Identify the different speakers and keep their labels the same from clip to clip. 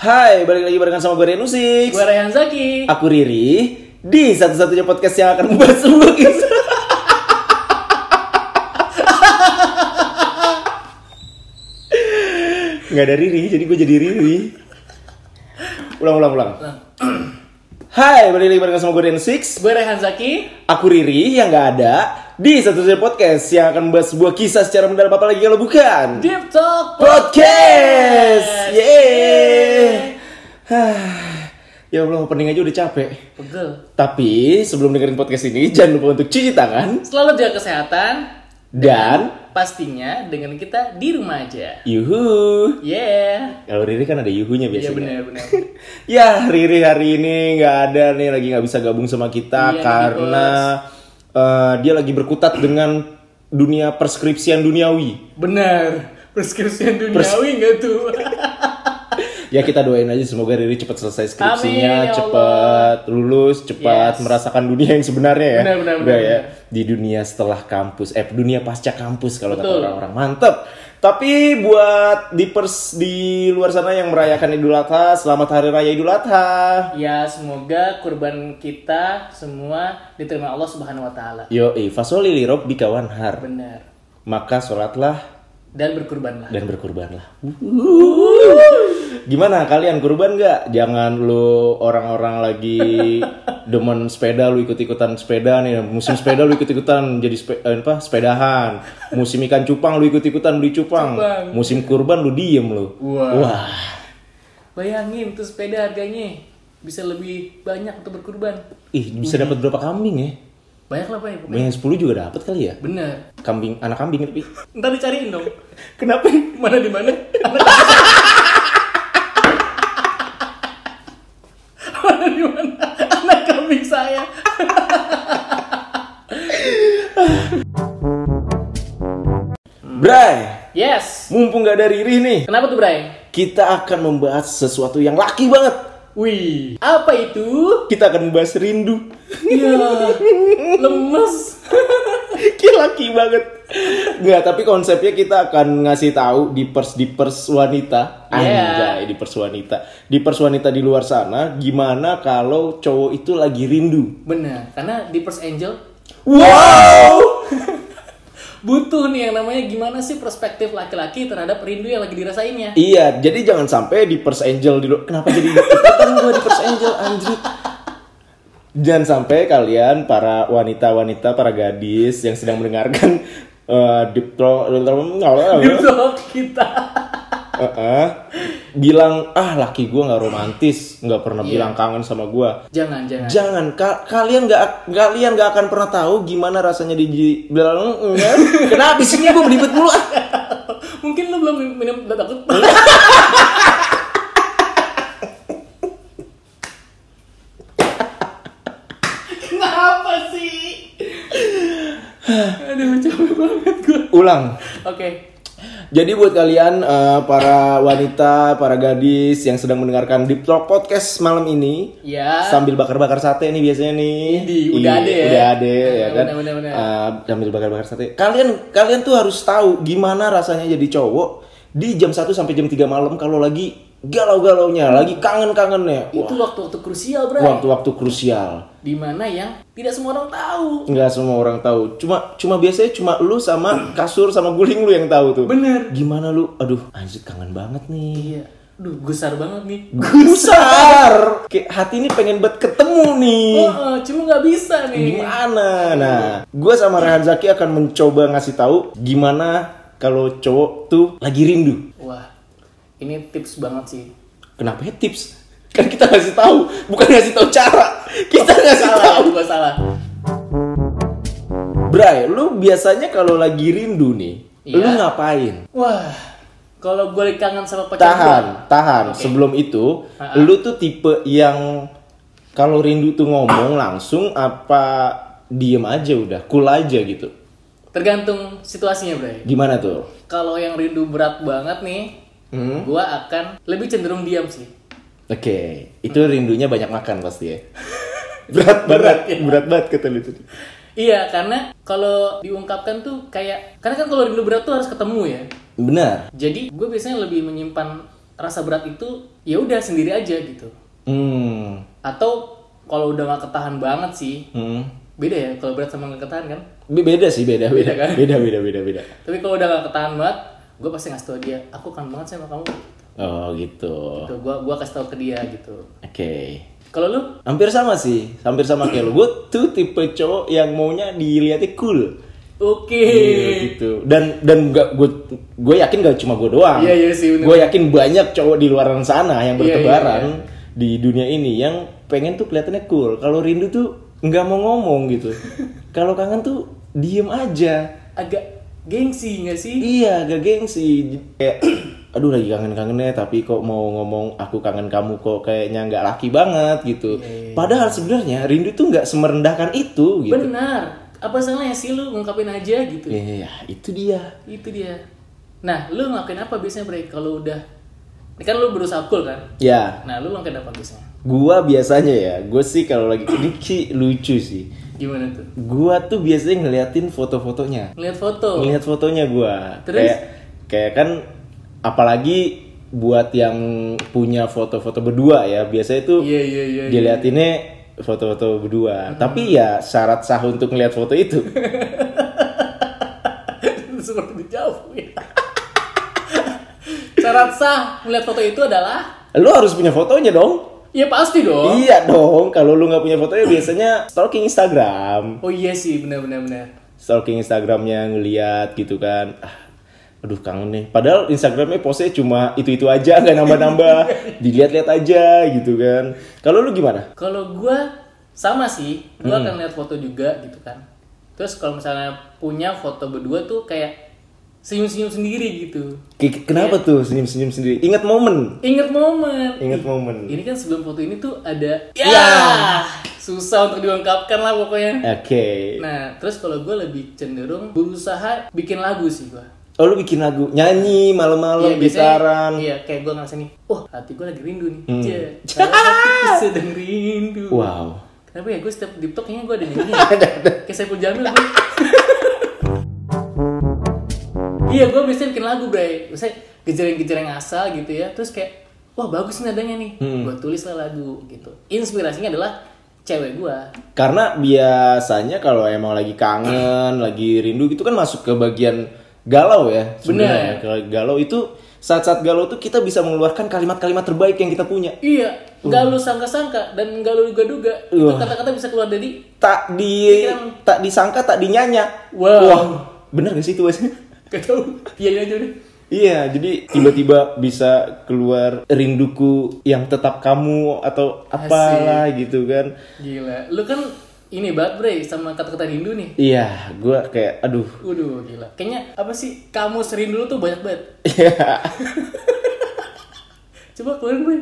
Speaker 1: Hai, balik lagi barengan sama gue Renu Six.
Speaker 2: Gue Rayhan Zaki.
Speaker 1: Aku Riri di satu-satunya podcast yang akan membahas melukis. Nggak ada Riri, jadi gue jadi Riri. Ulang, ulang, ulang. Hai, balik lagi barengan sama gue Renu Six.
Speaker 2: Gue Rayhan Zaki.
Speaker 1: Aku Riri yang nggak ada di satu-satunya podcast yang akan membahas sebuah kisah secara mendalam apa lagi kalau bukan
Speaker 2: Deep Talk
Speaker 1: podcast.
Speaker 2: Yeay.
Speaker 1: Yeay. Hah. ya Allah, opening aja udah capek.
Speaker 2: Pegel.
Speaker 1: Tapi sebelum dengerin podcast ini, jangan lupa untuk cuci tangan
Speaker 2: Selalu jaga kesehatan.
Speaker 1: dan
Speaker 2: Pastinya dengan kita di rumah aja.
Speaker 1: yuhu.
Speaker 2: Yeah.
Speaker 1: Kalau Riri kan ada yuhunya biasanya.
Speaker 2: Iya benar benar.
Speaker 1: Ya, Riri hari ini nggak ada nih lagi nggak bisa gabung sama kita
Speaker 2: Iya,
Speaker 1: karena eh, dia lagi berkutat dengan dunia perskripsian duniawi.
Speaker 2: benar. Preskripsian duniawi nggak tuh?
Speaker 1: Ya kita doain aja semoga Riri cepat selesai
Speaker 2: Amin,
Speaker 1: skripsinya,
Speaker 2: ya Allah.
Speaker 1: cepat lulus, cepat
Speaker 2: Yes.
Speaker 1: merasakan dunia yang sebenarnya ya.
Speaker 2: Benar, benar,
Speaker 1: Udah
Speaker 2: benar,
Speaker 1: ya di dunia setelah kampus, eh dunia pasca kampus kalau kata
Speaker 2: Betul.
Speaker 1: orang-orang mantep. Tapi buat di pers di luar sana yang merayakan Idul Adha, selamat Hari Raya Idul Adha.
Speaker 2: ya semoga kurban kita semua diterima Allah Subhanahu Wa Taala.
Speaker 1: Yo, fasoli li rabbika wanhar.
Speaker 2: Benar.
Speaker 1: Maka sholatlah
Speaker 2: Dan berkurbanlah.
Speaker 1: dan berkurbanlah.
Speaker 2: Uh.
Speaker 1: Gimana kalian kurban nggak? Jangan lu orang-orang lagi demen sepeda lu ikut-ikutan sepeda nih. Musim sepeda lu ikut-ikutan jadi spe- eh, apa? Sepedahan. Musim ikan cupang lu ikut-ikutan beli cupang.
Speaker 2: Cupang.
Speaker 1: Musim kurban lu diem lu.
Speaker 2: Wah.
Speaker 1: Wah.
Speaker 2: Bayangin tuh sepeda harganya bisa lebih banyak untuk berkurban.
Speaker 1: Ih, bisa dapat berapa kambing ya?
Speaker 2: Banyak lah pak ya pokoknya.
Speaker 1: Banyak 10 juga dapat kali ya.
Speaker 2: Benar.
Speaker 1: Kambing anak kambing tapi
Speaker 2: Ntar dicariin dong.
Speaker 1: kenapa?
Speaker 2: Mana di mana? mana di mana? Anak kambing saya.
Speaker 1: Hmm. Bray,
Speaker 2: Yes.
Speaker 1: mumpung gak ada Riri nih,
Speaker 2: Kenapa tuh, Bray?
Speaker 1: kita akan membahas sesuatu yang laki banget.
Speaker 2: Wih, apa itu?
Speaker 1: Kita akan membahas rindu.
Speaker 2: Ya, lemes.
Speaker 1: Kayak laki banget. Nggak, tapi konsepnya kita akan ngasih tahu di pers di pers wanita.
Speaker 2: Yeah.
Speaker 1: Anjay, di pers wanita. Di pers wanita di luar sana gimana kalau cowok itu lagi rindu.
Speaker 2: Benar, karena di First Angel
Speaker 1: Wow!
Speaker 2: butuh nih yang namanya gimana sih perspektif laki-laki terhadap rindu yang lagi dirasainnya.
Speaker 1: iya, jadi jangan sampai di pers angel di luar. Kenapa jadi ikutan gua di pers angel anjrit? Jangan sampai kalian para wanita-wanita, para gadis yang sedang mendengarkan eh deep Throat- Iya.
Speaker 2: Di vlog Gitu kita.
Speaker 1: Heeh. bilang ah laki gue nggak romantis nggak pernah bilang kangen sama gue
Speaker 2: Jangan, jangan.
Speaker 1: jangan ka- kalian nggak kalian nggak akan pernah tahu gimana rasanya di bilang "Mm, kan?" enggak kenapa sih gue belibet mulu ah
Speaker 2: Mungkin lu belum minum takut. Kenapa sih? Aduh, capek banget gue.
Speaker 1: ulang
Speaker 2: Oke.
Speaker 1: jadi buat kalian eh, para wanita para gadis yang sedang mendengarkan Deep Talk podcast malam ini
Speaker 2: Ya.
Speaker 1: sambil bakar-bakar sate nih biasanya nih.
Speaker 2: Idi, udah
Speaker 1: Iya,
Speaker 2: ada ya.
Speaker 1: Udah ada ya
Speaker 2: Benar,
Speaker 1: kan.
Speaker 2: benar, benar.
Speaker 1: Ah, sambil bakar-bakar sate. Kalian kalian tuh harus tahu gimana rasanya jadi cowok di jam 1 sampai jam 3 malam kalau lagi galau-galaunya, lagi kangen-kangennya. Wah,
Speaker 2: Itu waktu-waktu krusial, Bro.
Speaker 1: Waktu-waktu krusial.
Speaker 2: Di mana yang tidak semua orang tahu.
Speaker 1: Enggak semua orang tahu. Cuma cuma biasanya cuma lu sama kasur sama guling lu yang tahu tuh.
Speaker 2: Bener.
Speaker 1: Gimana lu? Aduh, anjir kangen banget nih.
Speaker 2: Iya. Duh, gusar banget nih.
Speaker 1: Gusar. Kayak hati ini pengen buat ketemu nih.
Speaker 2: Oh, oh, cuma nggak bisa nih.
Speaker 1: gimana nah gue sama Rehan Zaki akan mencoba ngasih tahu gimana kalau cowok tuh lagi rindu
Speaker 2: Wah, ini tips banget sih.
Speaker 1: kenapa ya tips kan kita ngasih tahu bukan ngasih tahu cara kita ngasih
Speaker 2: Salah,
Speaker 1: tahu
Speaker 2: gua salah.
Speaker 1: Bray lu biasanya kalau lagi rindu nih
Speaker 2: Iya.
Speaker 1: lu ngapain
Speaker 2: Wah, kalau gue kangen sama pacar
Speaker 1: tahan
Speaker 2: gua,
Speaker 1: tahan sebelum itu lu tuh tipe yang kalau rindu tuh ngomong langsung apa diem aja udah cool aja gitu
Speaker 2: tergantung situasinya, Bray.
Speaker 1: gimana tuh
Speaker 2: Kalau yang rindu berat banget nih,
Speaker 1: Hmm.
Speaker 2: gua akan lebih cenderung diam sih.
Speaker 1: Oke, itu rindunya banyak makan pasti ya. berat ya. banget, berat banget kata lu tadi.
Speaker 2: Iya, karena kalau diungkapkan tuh kayak karena kan kalau rindu berat tuh harus ketemu ya.
Speaker 1: Benar.
Speaker 2: Jadi gue biasanya lebih menyimpan rasa berat itu ya udah sendiri aja gitu
Speaker 1: Hmm.
Speaker 2: atau kalau udah nggak ketahan banget sih
Speaker 1: Hmm.
Speaker 2: beda ya kalau berat sama nggak ketahan kan
Speaker 1: Be- Beda sih, beda, beda,
Speaker 2: Beda kan?
Speaker 1: beda, beda, beda, beda.
Speaker 2: tapi kalau udah nggak ketahan banget gue pasti ngasih tau dia aku kangen banget sama kamu
Speaker 1: Oh gitu.
Speaker 2: gitu gue gua kasih tau ke dia gitu
Speaker 1: Oke.
Speaker 2: kalau lu
Speaker 1: Hampir sama sih, hampir sama kayak lu. Gue tuh tipe cowok yang maunya dilihatnya cool.
Speaker 2: oke
Speaker 1: Iya, gitu. Dan dan gak gue gue yakin gak cuma gue doang.
Speaker 2: Iya, iya sih, bener.
Speaker 1: Gue yakin banyak cowok di luar sana yang
Speaker 2: Iya, iya,
Speaker 1: bertebaran di dunia ini yang pengen tuh kelihatannya cool. Kalau rindu tuh nggak mau ngomong gitu. Kalau kangen tuh diem aja.
Speaker 2: agak gengsi nggak sih
Speaker 1: Iya, gak gengsi. Kayak aduh lagi kangen-kangennya tapi kok mau ngomong aku kangen kamu kok kayaknya nggak laki banget gitu.
Speaker 2: Iya,
Speaker 1: Padahal sebenarnya rindu tuh nggak semerendahkan itu gitu.
Speaker 2: benar apa salahnya sih lu ngungkapin aja gitu
Speaker 1: Iya, itu dia.
Speaker 2: itu dia nah lu ngelakuin apa biasanya break kalau udah ini kan lu berusaha cool kan
Speaker 1: Ya,
Speaker 2: nah lu ngelakuin apa biasanya
Speaker 1: Gua biasanya ya, gue sih kalau lagi ini ki- lucu sih.
Speaker 2: gimana tuh
Speaker 1: Gua tuh biasanya ngeliatin foto-fotonya.
Speaker 2: ngeliat foto
Speaker 1: Ngeliat fotonya gua.
Speaker 2: Terus?
Speaker 1: Kayak, kayak kan apalagi buat yang punya foto-foto berdua ya, biasanya tuh
Speaker 2: iya iya iya Hmm. iya.
Speaker 1: diliatinnya foto-foto berdua. Tapi ya syarat sah untuk ngeliat foto itu.
Speaker 2: seperti jauh ya syarat sah melihat foto itu adalah
Speaker 1: Lu harus punya fotonya dong.
Speaker 2: ya pasti dong
Speaker 1: Iya dong, kalau lu nggak punya fotonya biasanya stalking Instagram.
Speaker 2: oh iya sih benar benar benar
Speaker 1: stalking Instagramnya ngeliat gitu kan ah, aduh kangen nih padahal Instagramnya pose cuma itu itu aja nggak nambah nambah dilihat-lihat aja gitu kan kalau lu gimana
Speaker 2: kalau gua sama sih gua
Speaker 1: Hmm.
Speaker 2: akan lihat foto juga gitu kan terus kalau misalnya punya foto berdua tuh kayak senyum senyum sendiri gitu
Speaker 1: Ke- kenapa tuh senyum-senyum sendiri ingat momen
Speaker 2: ingat momen
Speaker 1: ingat momen oke
Speaker 2: ini kan sebelum foto ini tuh ada ya susah untuk diungkapkan lah pokoknya nah terus kalau gua lebih cenderung berusaha bikin lagu sih gua
Speaker 1: oh lu bikin lagu nyanyi malam-malam
Speaker 2: biasanya-
Speaker 1: gitaran
Speaker 2: Iya, kayak gue ngerasa nih, wah hati gue lagi rindu nih.
Speaker 1: Hmm.
Speaker 2: Hmm. hatiku sedang rindu.
Speaker 1: wow
Speaker 2: Kenapa ya gue setiap di TikTok kayaknya gue ada nyanyi. kayak Saiful Jamil gue. iya, gue biasanya bikin lagu, Bray. Biasanya gejereng-gejereng asal gitu ya. Terus kayak, wah bagus nih nadanya nih. Gue tulis lah lagu gitu. Inspirasinya adalah cewek gue.
Speaker 1: Karena biasanya kalau emang lagi kangen, lagi rindu gitu kan masuk ke bagian galau ya. sebenarnya. Kalau galau itu saat-saat galau tuh kita bisa mengeluarkan kalimat-kalimat terbaik yang kita punya.
Speaker 2: Iya, nggak lu sangka-sangka dan nggak lu duga-duga. Itu kata-kata bisa keluar dari
Speaker 1: Tak di tak disangka, tak dinyanya.
Speaker 2: Wow.
Speaker 1: Wah, bener gak sih itu Mas?
Speaker 2: Gak tau, iya aja deh.
Speaker 1: Iya, jadi tiba-tiba bisa keluar rinduku yang tetap kamu atau apalah gitu kan.
Speaker 2: Gila, lu kan ini banget bre sama kata-kata rindu nih.
Speaker 1: Iya, gua kayak aduh.
Speaker 2: Waduh, gila. Kayaknya apa sih kamu sering dulu tuh banyak banget.
Speaker 1: Iya.
Speaker 2: Coba keluarin bre.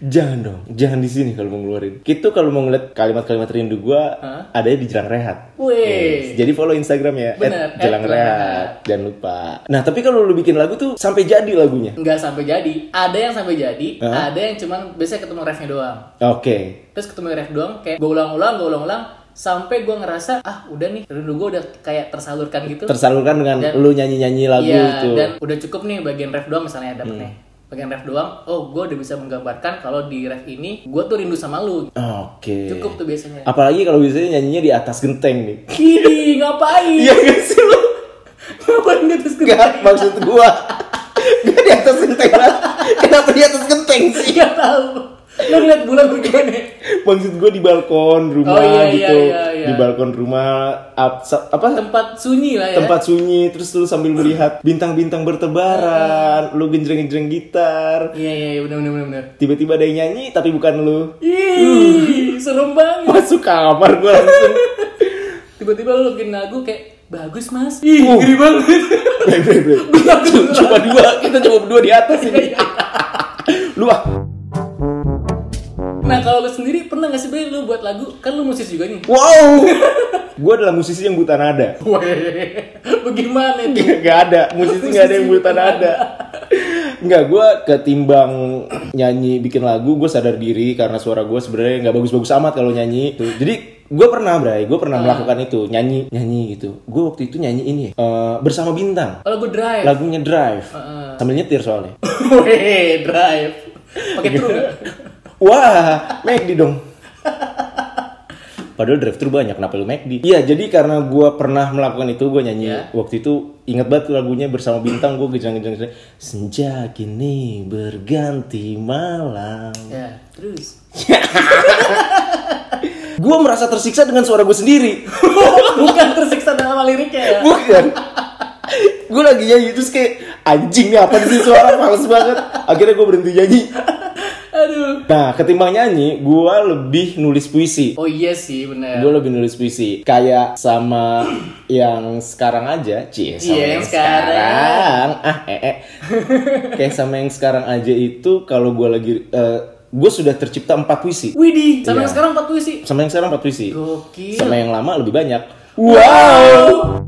Speaker 1: Jangan dong, jangan di sini kalau mau ngeluarin. Itu kalau mau ngeliat kalimat-kalimat rindu gua
Speaker 2: Hah?
Speaker 1: ada di Jelang Rehat. Yes.
Speaker 2: Wih,
Speaker 1: Jadi follow Instagram ya, at Jelang
Speaker 2: Bener, at Jelang
Speaker 1: Rehat. Jangan lupa. Nah, tapi kalau lu bikin lagu tuh sampai jadi lagunya.
Speaker 2: nggak sampai jadi. Ada yang sampai jadi,
Speaker 1: Hah?
Speaker 2: ada yang cuman biasanya ketemu refnya doang.
Speaker 1: Oke.
Speaker 2: Terus ketemu ref doang, kayak gue ulang-ulang, gue ulang-ulang, sampai gue ngerasa ah udah nih rindu gue udah kayak tersalurkan gitu.
Speaker 1: Tersalurkan dengan
Speaker 2: Dan-
Speaker 1: lu nyanyi-nyanyi lagu
Speaker 2: Iya,
Speaker 1: itu.
Speaker 2: dan udah cukup nih bagian ref doang misalnya dapet
Speaker 1: Hmm.
Speaker 2: nih. Bagian ref doang, oh gue udah bisa menggambarkan kalau di ref ini gue tuh rindu sama lu.
Speaker 1: Oke.
Speaker 2: Cukup tuh biasanya.
Speaker 1: Apalagi kalau biasanya nyanyinya di atas genteng nih.
Speaker 2: Kiri, ngapain?
Speaker 1: Iya gak sih lu?
Speaker 2: Ngapain di atas genteng?
Speaker 1: Gak, maksud gua. Gak di atas genteng lah. Kenapa di atas genteng sih?
Speaker 2: Gak Iya, tahu. Lo ngeliat bulan bagaimana?
Speaker 1: Maksud gue di balkon rumah
Speaker 2: Oh, iya, iya,
Speaker 1: gitu,
Speaker 2: iya, iya.
Speaker 1: di balkon rumah ap- sa- apa
Speaker 2: Tempat sunyi lah ya.
Speaker 1: tempat sunyi, terus lu
Speaker 2: Iya.
Speaker 1: sambil melihat bintang-bintang bertebaran, lu genjreng-genjreng gitar,
Speaker 2: Iya iya iya benar benar benar, benar.
Speaker 1: tiba-tiba ada yang nyanyi tapi bukan lu,
Speaker 2: Ih, serem banget.
Speaker 1: masuk kamar gue langsung,
Speaker 2: Tiba-tiba lo bikin lagu kayak bagus mas. Ih, ngeri banget.
Speaker 1: Bre, bre, bre. cuma dua, kita cuma berdua di atas ini, lu ah,
Speaker 2: Nah kalau lo sendiri pernah nggak sih Bray lo buat lagu? Kan lo musisi juga nih.
Speaker 1: wow, gue adalah musisi yang buta nada.
Speaker 2: Weh, bagaimana itu?
Speaker 1: Nggak nggak ada, musisi nggak ada yang buta nada. Nggak, gue ketimbang nyanyi bikin lagu, gue sadar diri karena suara gue sebenarnya nggak bagus-bagus amat kalau nyanyi. Tuh. Jadi Gue pernah, Bray. Gue pernah melakukan itu. Nyanyi, nyanyi gitu. Gue waktu itu nyanyi ini. eh, bersama Bintang.
Speaker 2: Kalau gue Oh, drive.
Speaker 1: Lagunya Drive. Sambil nyetir soalnya.
Speaker 2: Weh, drive. Pakai truk nggak?
Speaker 1: Iya. Wah, McD dong. Padahal drive thru banyak, kenapa lu McD? Iya, jadi karena gua pernah melakukan itu, gua nyanyi
Speaker 2: Iya.
Speaker 1: waktu itu ingat banget lagunya bersama bintang, gua gejang-gejang gejang. Senja kini berganti malam.
Speaker 2: Ya, terus.
Speaker 1: Gua merasa tersiksa dengan suara gue sendiri.
Speaker 2: Bukan tersiksa dalam hal liriknya ya.
Speaker 1: Bukan. gue lagi nyanyi terus kayak anjing nih apa sih suara males banget. Akhirnya gue berhenti nyanyi.
Speaker 2: Aduh.
Speaker 1: Nah, ketimbang nyanyi, gua lebih nulis puisi.
Speaker 2: Oh iya sih bener.
Speaker 1: gue lebih nulis puisi kayak sama yang sekarang aja cie sama
Speaker 2: Iya,
Speaker 1: yang
Speaker 2: yang sekarang.
Speaker 1: sekarang ah eh, eh. kayak sama yang sekarang aja itu kalau gue lagi gue sudah tercipta empat puisi
Speaker 2: Widih, sama
Speaker 1: Iya.
Speaker 2: yang sekarang empat puisi.
Speaker 1: sama yang sekarang empat puisi
Speaker 2: Gokil.
Speaker 1: sama yang lama lebih banyak wow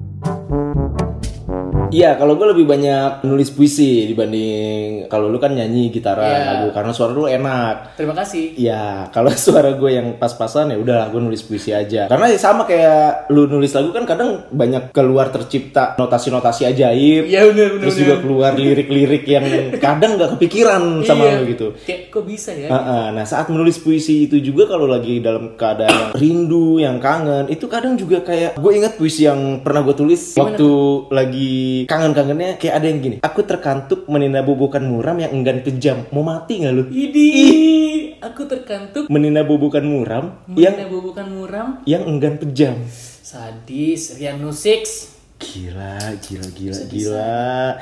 Speaker 1: Iya, kalau gue lebih banyak nulis puisi dibanding kalau lu kan nyanyi gitaran
Speaker 2: Iya.
Speaker 1: lagu karena suara lu enak.
Speaker 2: Terima kasih.
Speaker 1: Ya, kalau suara gue yang pas-pasan ya udah gue nulis puisi aja. Karena ya sama kayak lu nulis lagu kan kadang banyak keluar tercipta notasi-notasi ajaib.
Speaker 2: Iya bener bener.
Speaker 1: terus juga keluar lirik-lirik yang kadang nggak kepikiran sama
Speaker 2: Iya.
Speaker 1: lu gitu.
Speaker 2: Kayak kok bisa ya?
Speaker 1: Ah, ah. Nah saat menulis puisi itu juga kalau lagi dalam keadaan yang rindu, yang kangen, itu kadang juga kayak gue ingat puisi yang pernah gue tulis waktu lagi kangen-kangennya kayak ada yang gini. Aku terkantuk meninabobokan muram yang enggan kejam. Mau mati nggak lu?
Speaker 2: Idih, aku terkantuk
Speaker 1: meninabobokan muram yang
Speaker 2: mengenai bubukan muram.
Speaker 1: yang enggan pejam.
Speaker 2: Sadis, Rian Six.
Speaker 1: Gila, gila, gila, gila.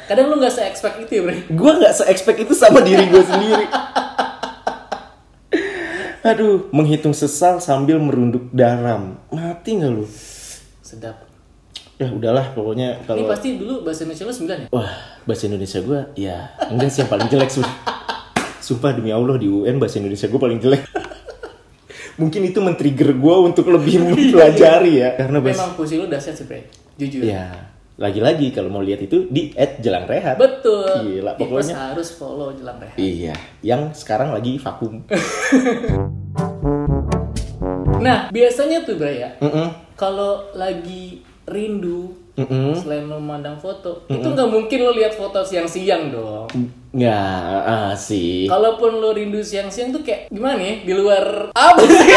Speaker 2: Kadang lu nggak se-expect itu ya, Bre.
Speaker 1: Gue nggak se-expect itu sama diri gue sendiri. Aduh, menghitung sesal sambil merunduk dalam. Mati nggak lu?
Speaker 2: Sedap.
Speaker 1: Ya udahlah, pokoknya
Speaker 2: Ini
Speaker 1: kalau
Speaker 2: pasti dulu bahasa Indonesia lu 9 ya?
Speaker 1: wah bahasa Indonesia gue ya enggak sih yang paling jelek sumpah. Sumpah demi Allah di UN bahasa Indonesia gue paling jelek. Mungkin itu men-trigger gue untuk lebih mempelajari ya, karena bahasa
Speaker 2: Memang puisi lu dahsyat sih, Bre. Jujur.
Speaker 1: Ya, lagi-lagi kalau mau lihat itu di @jelangrehat.
Speaker 2: Betul.
Speaker 1: Gila,
Speaker 2: Tipers
Speaker 1: pokoknya.
Speaker 2: harus follow jelang rehat.
Speaker 1: Iya, yang sekarang lagi vakum.
Speaker 2: Nah, biasanya tuh, Bre ya.
Speaker 1: Mm-mm,
Speaker 2: Kalau lagi rindu
Speaker 1: mm-mm.
Speaker 2: selain memandang foto, itu nggak mungkin lo lihat foto siang-siang dong.
Speaker 1: Ya, ah, sih.
Speaker 2: Kalaupun lo rindu siang-siang tuh kayak gimana ya? Di luar apa sih?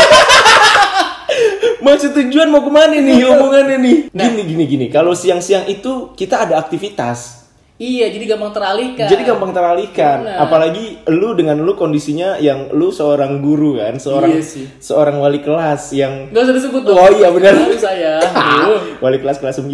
Speaker 1: Maksud tujuan mau kemana nih omongannya nih?
Speaker 2: Nah.
Speaker 1: Gini, gini, gini. Kalau siang-siang itu kita ada aktivitas.
Speaker 2: iya, jadi gampang teralihkan.
Speaker 1: Jadi gampang teralihkan,
Speaker 2: Benar.
Speaker 1: apalagi lu dengan lu kondisinya yang lu seorang guru kan, seorang
Speaker 2: Iya sih.
Speaker 1: seorang wali kelas yang
Speaker 2: Gak usah disebut dong.
Speaker 1: Oh, iya, benar. Ah.
Speaker 2: Malu saya. Aduh.
Speaker 1: wali kelas kelas 9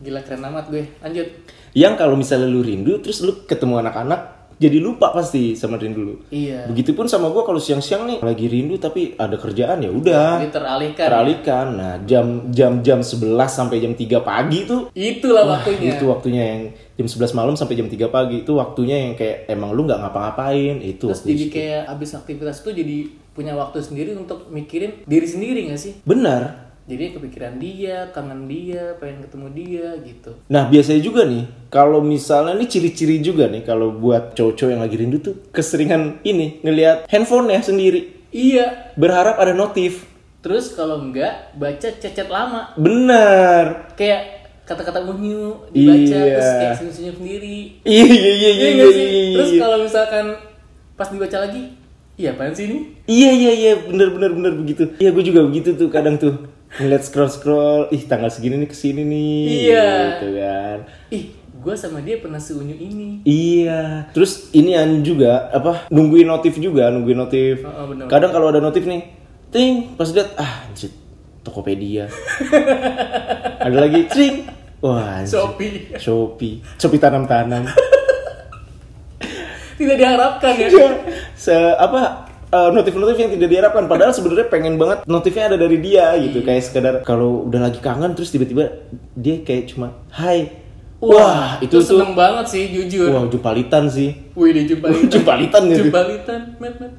Speaker 2: Gila keren amat gue. Lanjut.
Speaker 1: yang kalau misalnya lu rindu terus lu ketemu anak-anak jadi lupa pasti sama rindu lu.
Speaker 2: Iya.
Speaker 1: Begitupun sama gua kalau siang-siang nih lagi rindu tapi ada kerjaan ya udah
Speaker 2: Jadi teralihkan.
Speaker 1: teralihkan. Nah, jam jam jam 11 sampai jam 3 pagi tuh
Speaker 2: Itulah waktunya.
Speaker 1: itu waktunya yang jam 11 malam sampai jam 3 pagi itu waktunya yang kayak emang lu nggak ngapa-ngapain itu.
Speaker 2: Terus
Speaker 1: waktu
Speaker 2: jadi
Speaker 1: itu.
Speaker 2: kayak abis aktivitas tuh jadi punya waktu sendiri untuk mikirin diri sendiri gak sih?
Speaker 1: Benar.
Speaker 2: Jadi kepikiran dia, kangen dia, pengen ketemu dia gitu.
Speaker 1: Nah, biasanya juga nih kalau misalnya ini ciri-ciri juga nih kalau buat cowok-cowok yang lagi rindu tuh keseringan ini ngelihat handphone ya sendiri
Speaker 2: Iya.
Speaker 1: berharap ada notif.
Speaker 2: Terus kalau enggak baca cecet lama,
Speaker 1: Bener.
Speaker 2: kayak kata-kata unyu dibaca
Speaker 1: Iya.
Speaker 2: terus kayak senyum-senyum sendiri.
Speaker 1: Iya iya iya
Speaker 2: Iya
Speaker 1: iya
Speaker 2: nggak
Speaker 1: iya
Speaker 2: sih?
Speaker 1: iya
Speaker 2: Terus
Speaker 1: iya.
Speaker 2: kalau misalkan pas dibaca lagi, iya apaan sih ini?
Speaker 1: Iya iya iya bener bener bener begitu. Iya gue juga begitu tuh kadang tuh ngeliat scroll scroll, ih tanggal segini nih kesini nih.
Speaker 2: Iya.
Speaker 1: Gitu kan.
Speaker 2: Ih, gua sama dia pernah seunyu ini.
Speaker 1: Iya. Terus ini an juga apa nungguin notif juga nungguin notif.
Speaker 2: Oh, oh, bener.
Speaker 1: Kadang kalau ada notif nih, ting pas liat ah anjir Tokopedia. ada lagi ting. Wah, anjir.
Speaker 2: Shopee.
Speaker 1: Shopee. Shopee tanam-tanam.
Speaker 2: Tidak diharapkan ya.
Speaker 1: Iya. se apa eh, notif-notif yang tidak diharapkan padahal sebenarnya pengen banget notifnya ada dari dia gitu kayak sekedar kalau udah lagi kangen terus tiba-tiba dia kayak cuma hai wah, itu tuh
Speaker 2: seneng banget sih jujur.
Speaker 1: wah jumpalitan sih
Speaker 2: Wih, dia jumpalitan.
Speaker 1: Jumpalitan gitu.
Speaker 2: Jumpalitan, met met.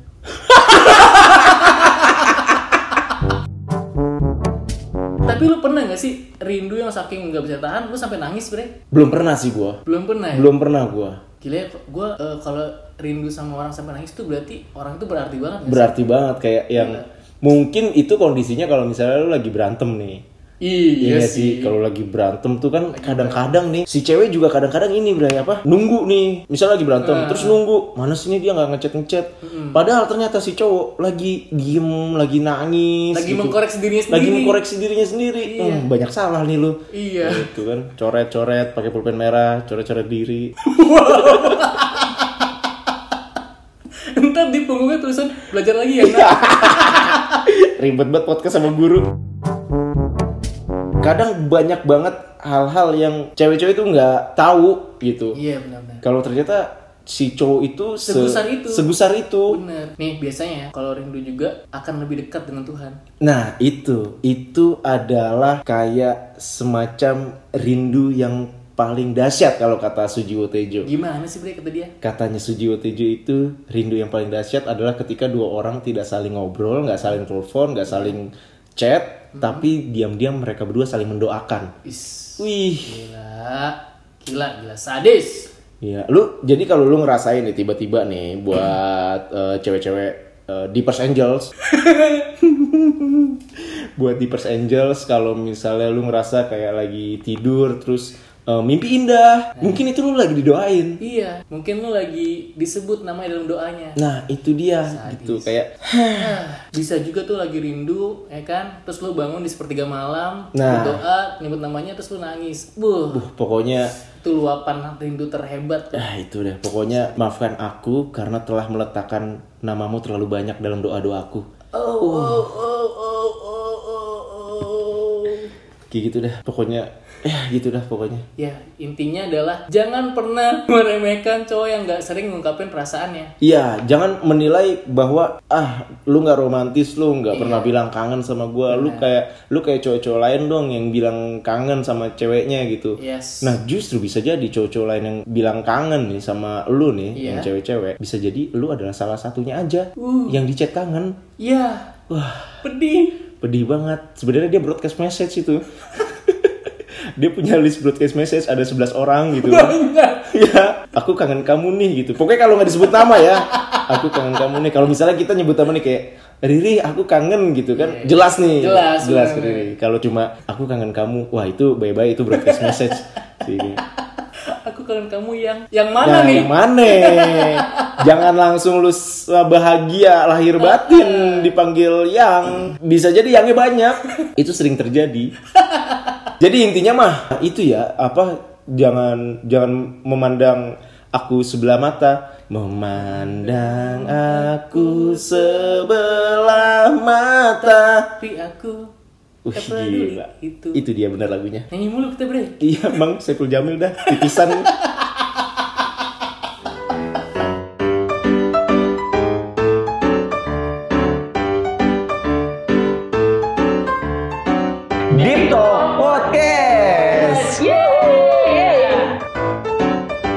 Speaker 2: Tapi lu pernah gak sih rindu yang saking nggak bisa tahan, lu sampai nangis bre?
Speaker 1: belum pernah sih gua
Speaker 2: Belum pernah. Ya?
Speaker 1: belum pernah gua
Speaker 2: Gila ya, gue kalau rindu sama orang sampai nangis tuh berarti orang itu berarti banget. nggak sih?
Speaker 1: berarti banget kayak yang mungkin itu kondisinya kalau misalnya lu lagi berantem nih Iya
Speaker 2: Iya,
Speaker 1: sih,
Speaker 2: sih.
Speaker 1: kalau lagi berantem tuh kan kadang-kadang nih si cewek juga kadang-kadang ini berarti apa? Nunggu nih, misal lagi berantem terus
Speaker 2: Ah.
Speaker 1: nunggu, mana sih nih dia nggak ngechat ngechat. Padahal ternyata si cowok lagi diem, lagi nangis,
Speaker 2: Lagi mengkoreksi dirinya
Speaker 1: Gitu. lagi
Speaker 2: sendiri.
Speaker 1: mengkoreksi dirinya sendiri. Hmm, banyak salah nih lu.
Speaker 2: Iya.
Speaker 1: Gitu kan, coret-coret pakai pulpen merah, coret-coret diri.
Speaker 2: Entar di punggungnya tulisan belajar
Speaker 1: Iya.
Speaker 2: lagi ya. Nak?
Speaker 1: Ribet banget podcast sama guru. Kadang banyak banget hal-hal yang cewek-cewek itu nggak tahu gitu.
Speaker 2: Iya benar-benar.
Speaker 1: Kalau ternyata si cowok itu se-
Speaker 2: Sebesar itu.
Speaker 1: Sebesar itu.
Speaker 2: Benar. Nih biasanya ya kalau rindu juga akan lebih dekat dengan Tuhan.
Speaker 1: Nah, itu itu adalah kayak semacam rindu yang paling dahsyat kalau kata Sujiwo Tejo.
Speaker 2: Gimana sih Bre kata dia?
Speaker 1: Katanya Sujiwo Tejo itu rindu yang paling dahsyat adalah ketika dua orang tidak saling ngobrol, nggak saling telepon, nggak saling chat,
Speaker 2: Hmm.
Speaker 1: tapi diam-diam mereka berdua saling mendoakan.
Speaker 2: Is.
Speaker 1: Wih,
Speaker 2: Gila. Gila, gila sadis.
Speaker 1: Iya, lu jadi kalau lu ngerasain nih tiba-tiba nih buat eh, cewek-cewek eh, di Pers Angels. buat di Pers Angels kalau misalnya lu ngerasa kayak lagi tidur terus eh, mimpi indah, mungkin itu lu lagi didoain.
Speaker 2: Iya, mungkin lu lagi disebut namanya dalam doanya.
Speaker 1: Nah, itu dia gitu kayak
Speaker 2: Ah, Bisa juga tuh lagi rindu, ya kan? Terus lu bangun di sepertiga malam, lu
Speaker 1: Nah.
Speaker 2: doa, nyebut namanya terus lu nangis. Buh,
Speaker 1: "Buh, uh, pokoknya
Speaker 2: itu luapan rindu terhebat.
Speaker 1: ah itu deh, pokoknya maafkan aku karena telah meletakkan namamu terlalu banyak dalam doa-doaku.
Speaker 2: Oh, oh, oh, oh, oh, oh, oh.
Speaker 1: Kayak gitu dah, pokoknya ya gitu dah pokoknya.
Speaker 2: Ya, intinya adalah jangan pernah meremehkan cowok yang nggak sering ngungkapin perasaannya.
Speaker 1: Iya, jangan menilai bahwa ah lu nggak romantis, lu nggak pernah bilang kangen sama gua, lu kayak lu kayak cowok-cowok lain dong yang bilang kangen sama ceweknya gitu.
Speaker 2: Yes.
Speaker 1: Nah justru bisa jadi cowok-cowok lain yang bilang kangen nih sama lu nih
Speaker 2: Iya.
Speaker 1: yang cewek-cewek bisa jadi lu adalah salah satunya aja yang dicet kangen.
Speaker 2: Ya,
Speaker 1: Wah
Speaker 2: pedih.
Speaker 1: pedih banget. Sebenarnya dia broadcast message itu. dia punya list broadcast message ada 11 orang gitu.
Speaker 2: Enggak.
Speaker 1: ya aku kangen kamu nih gitu pokoknya kalau nggak disebut nama ya aku kangen kamu nih kalau misalnya kita nyebut nama nih kayak Riri aku kangen gitu kan jelas nih
Speaker 2: Jelas,
Speaker 1: jelas ke Riri
Speaker 2: bener-bener.
Speaker 1: kalau cuma aku kangen kamu wah itu bye bye itu broadcast message Sini.
Speaker 2: Aku kangen kamu yang yang
Speaker 1: Nah,
Speaker 2: mana nih?
Speaker 1: yang mana? Jangan langsung lu s- uh, bahagia lahir
Speaker 2: Iya.
Speaker 1: batin dipanggil yang. Bisa jadi yangnya banyak. Itu sering terjadi. Jadi intinya mah itu ya apa jangan jangan memandang aku sebelah mata memandang aku sebelah mata.
Speaker 2: Tapi aku
Speaker 1: Wih,
Speaker 2: tak peduli.
Speaker 1: gila.
Speaker 2: Itu.
Speaker 1: Itu dia benar lagunya.
Speaker 2: Nyanyi mulu kita bre.
Speaker 1: Iya, Bang Saiful Jamil dah titisan. Dito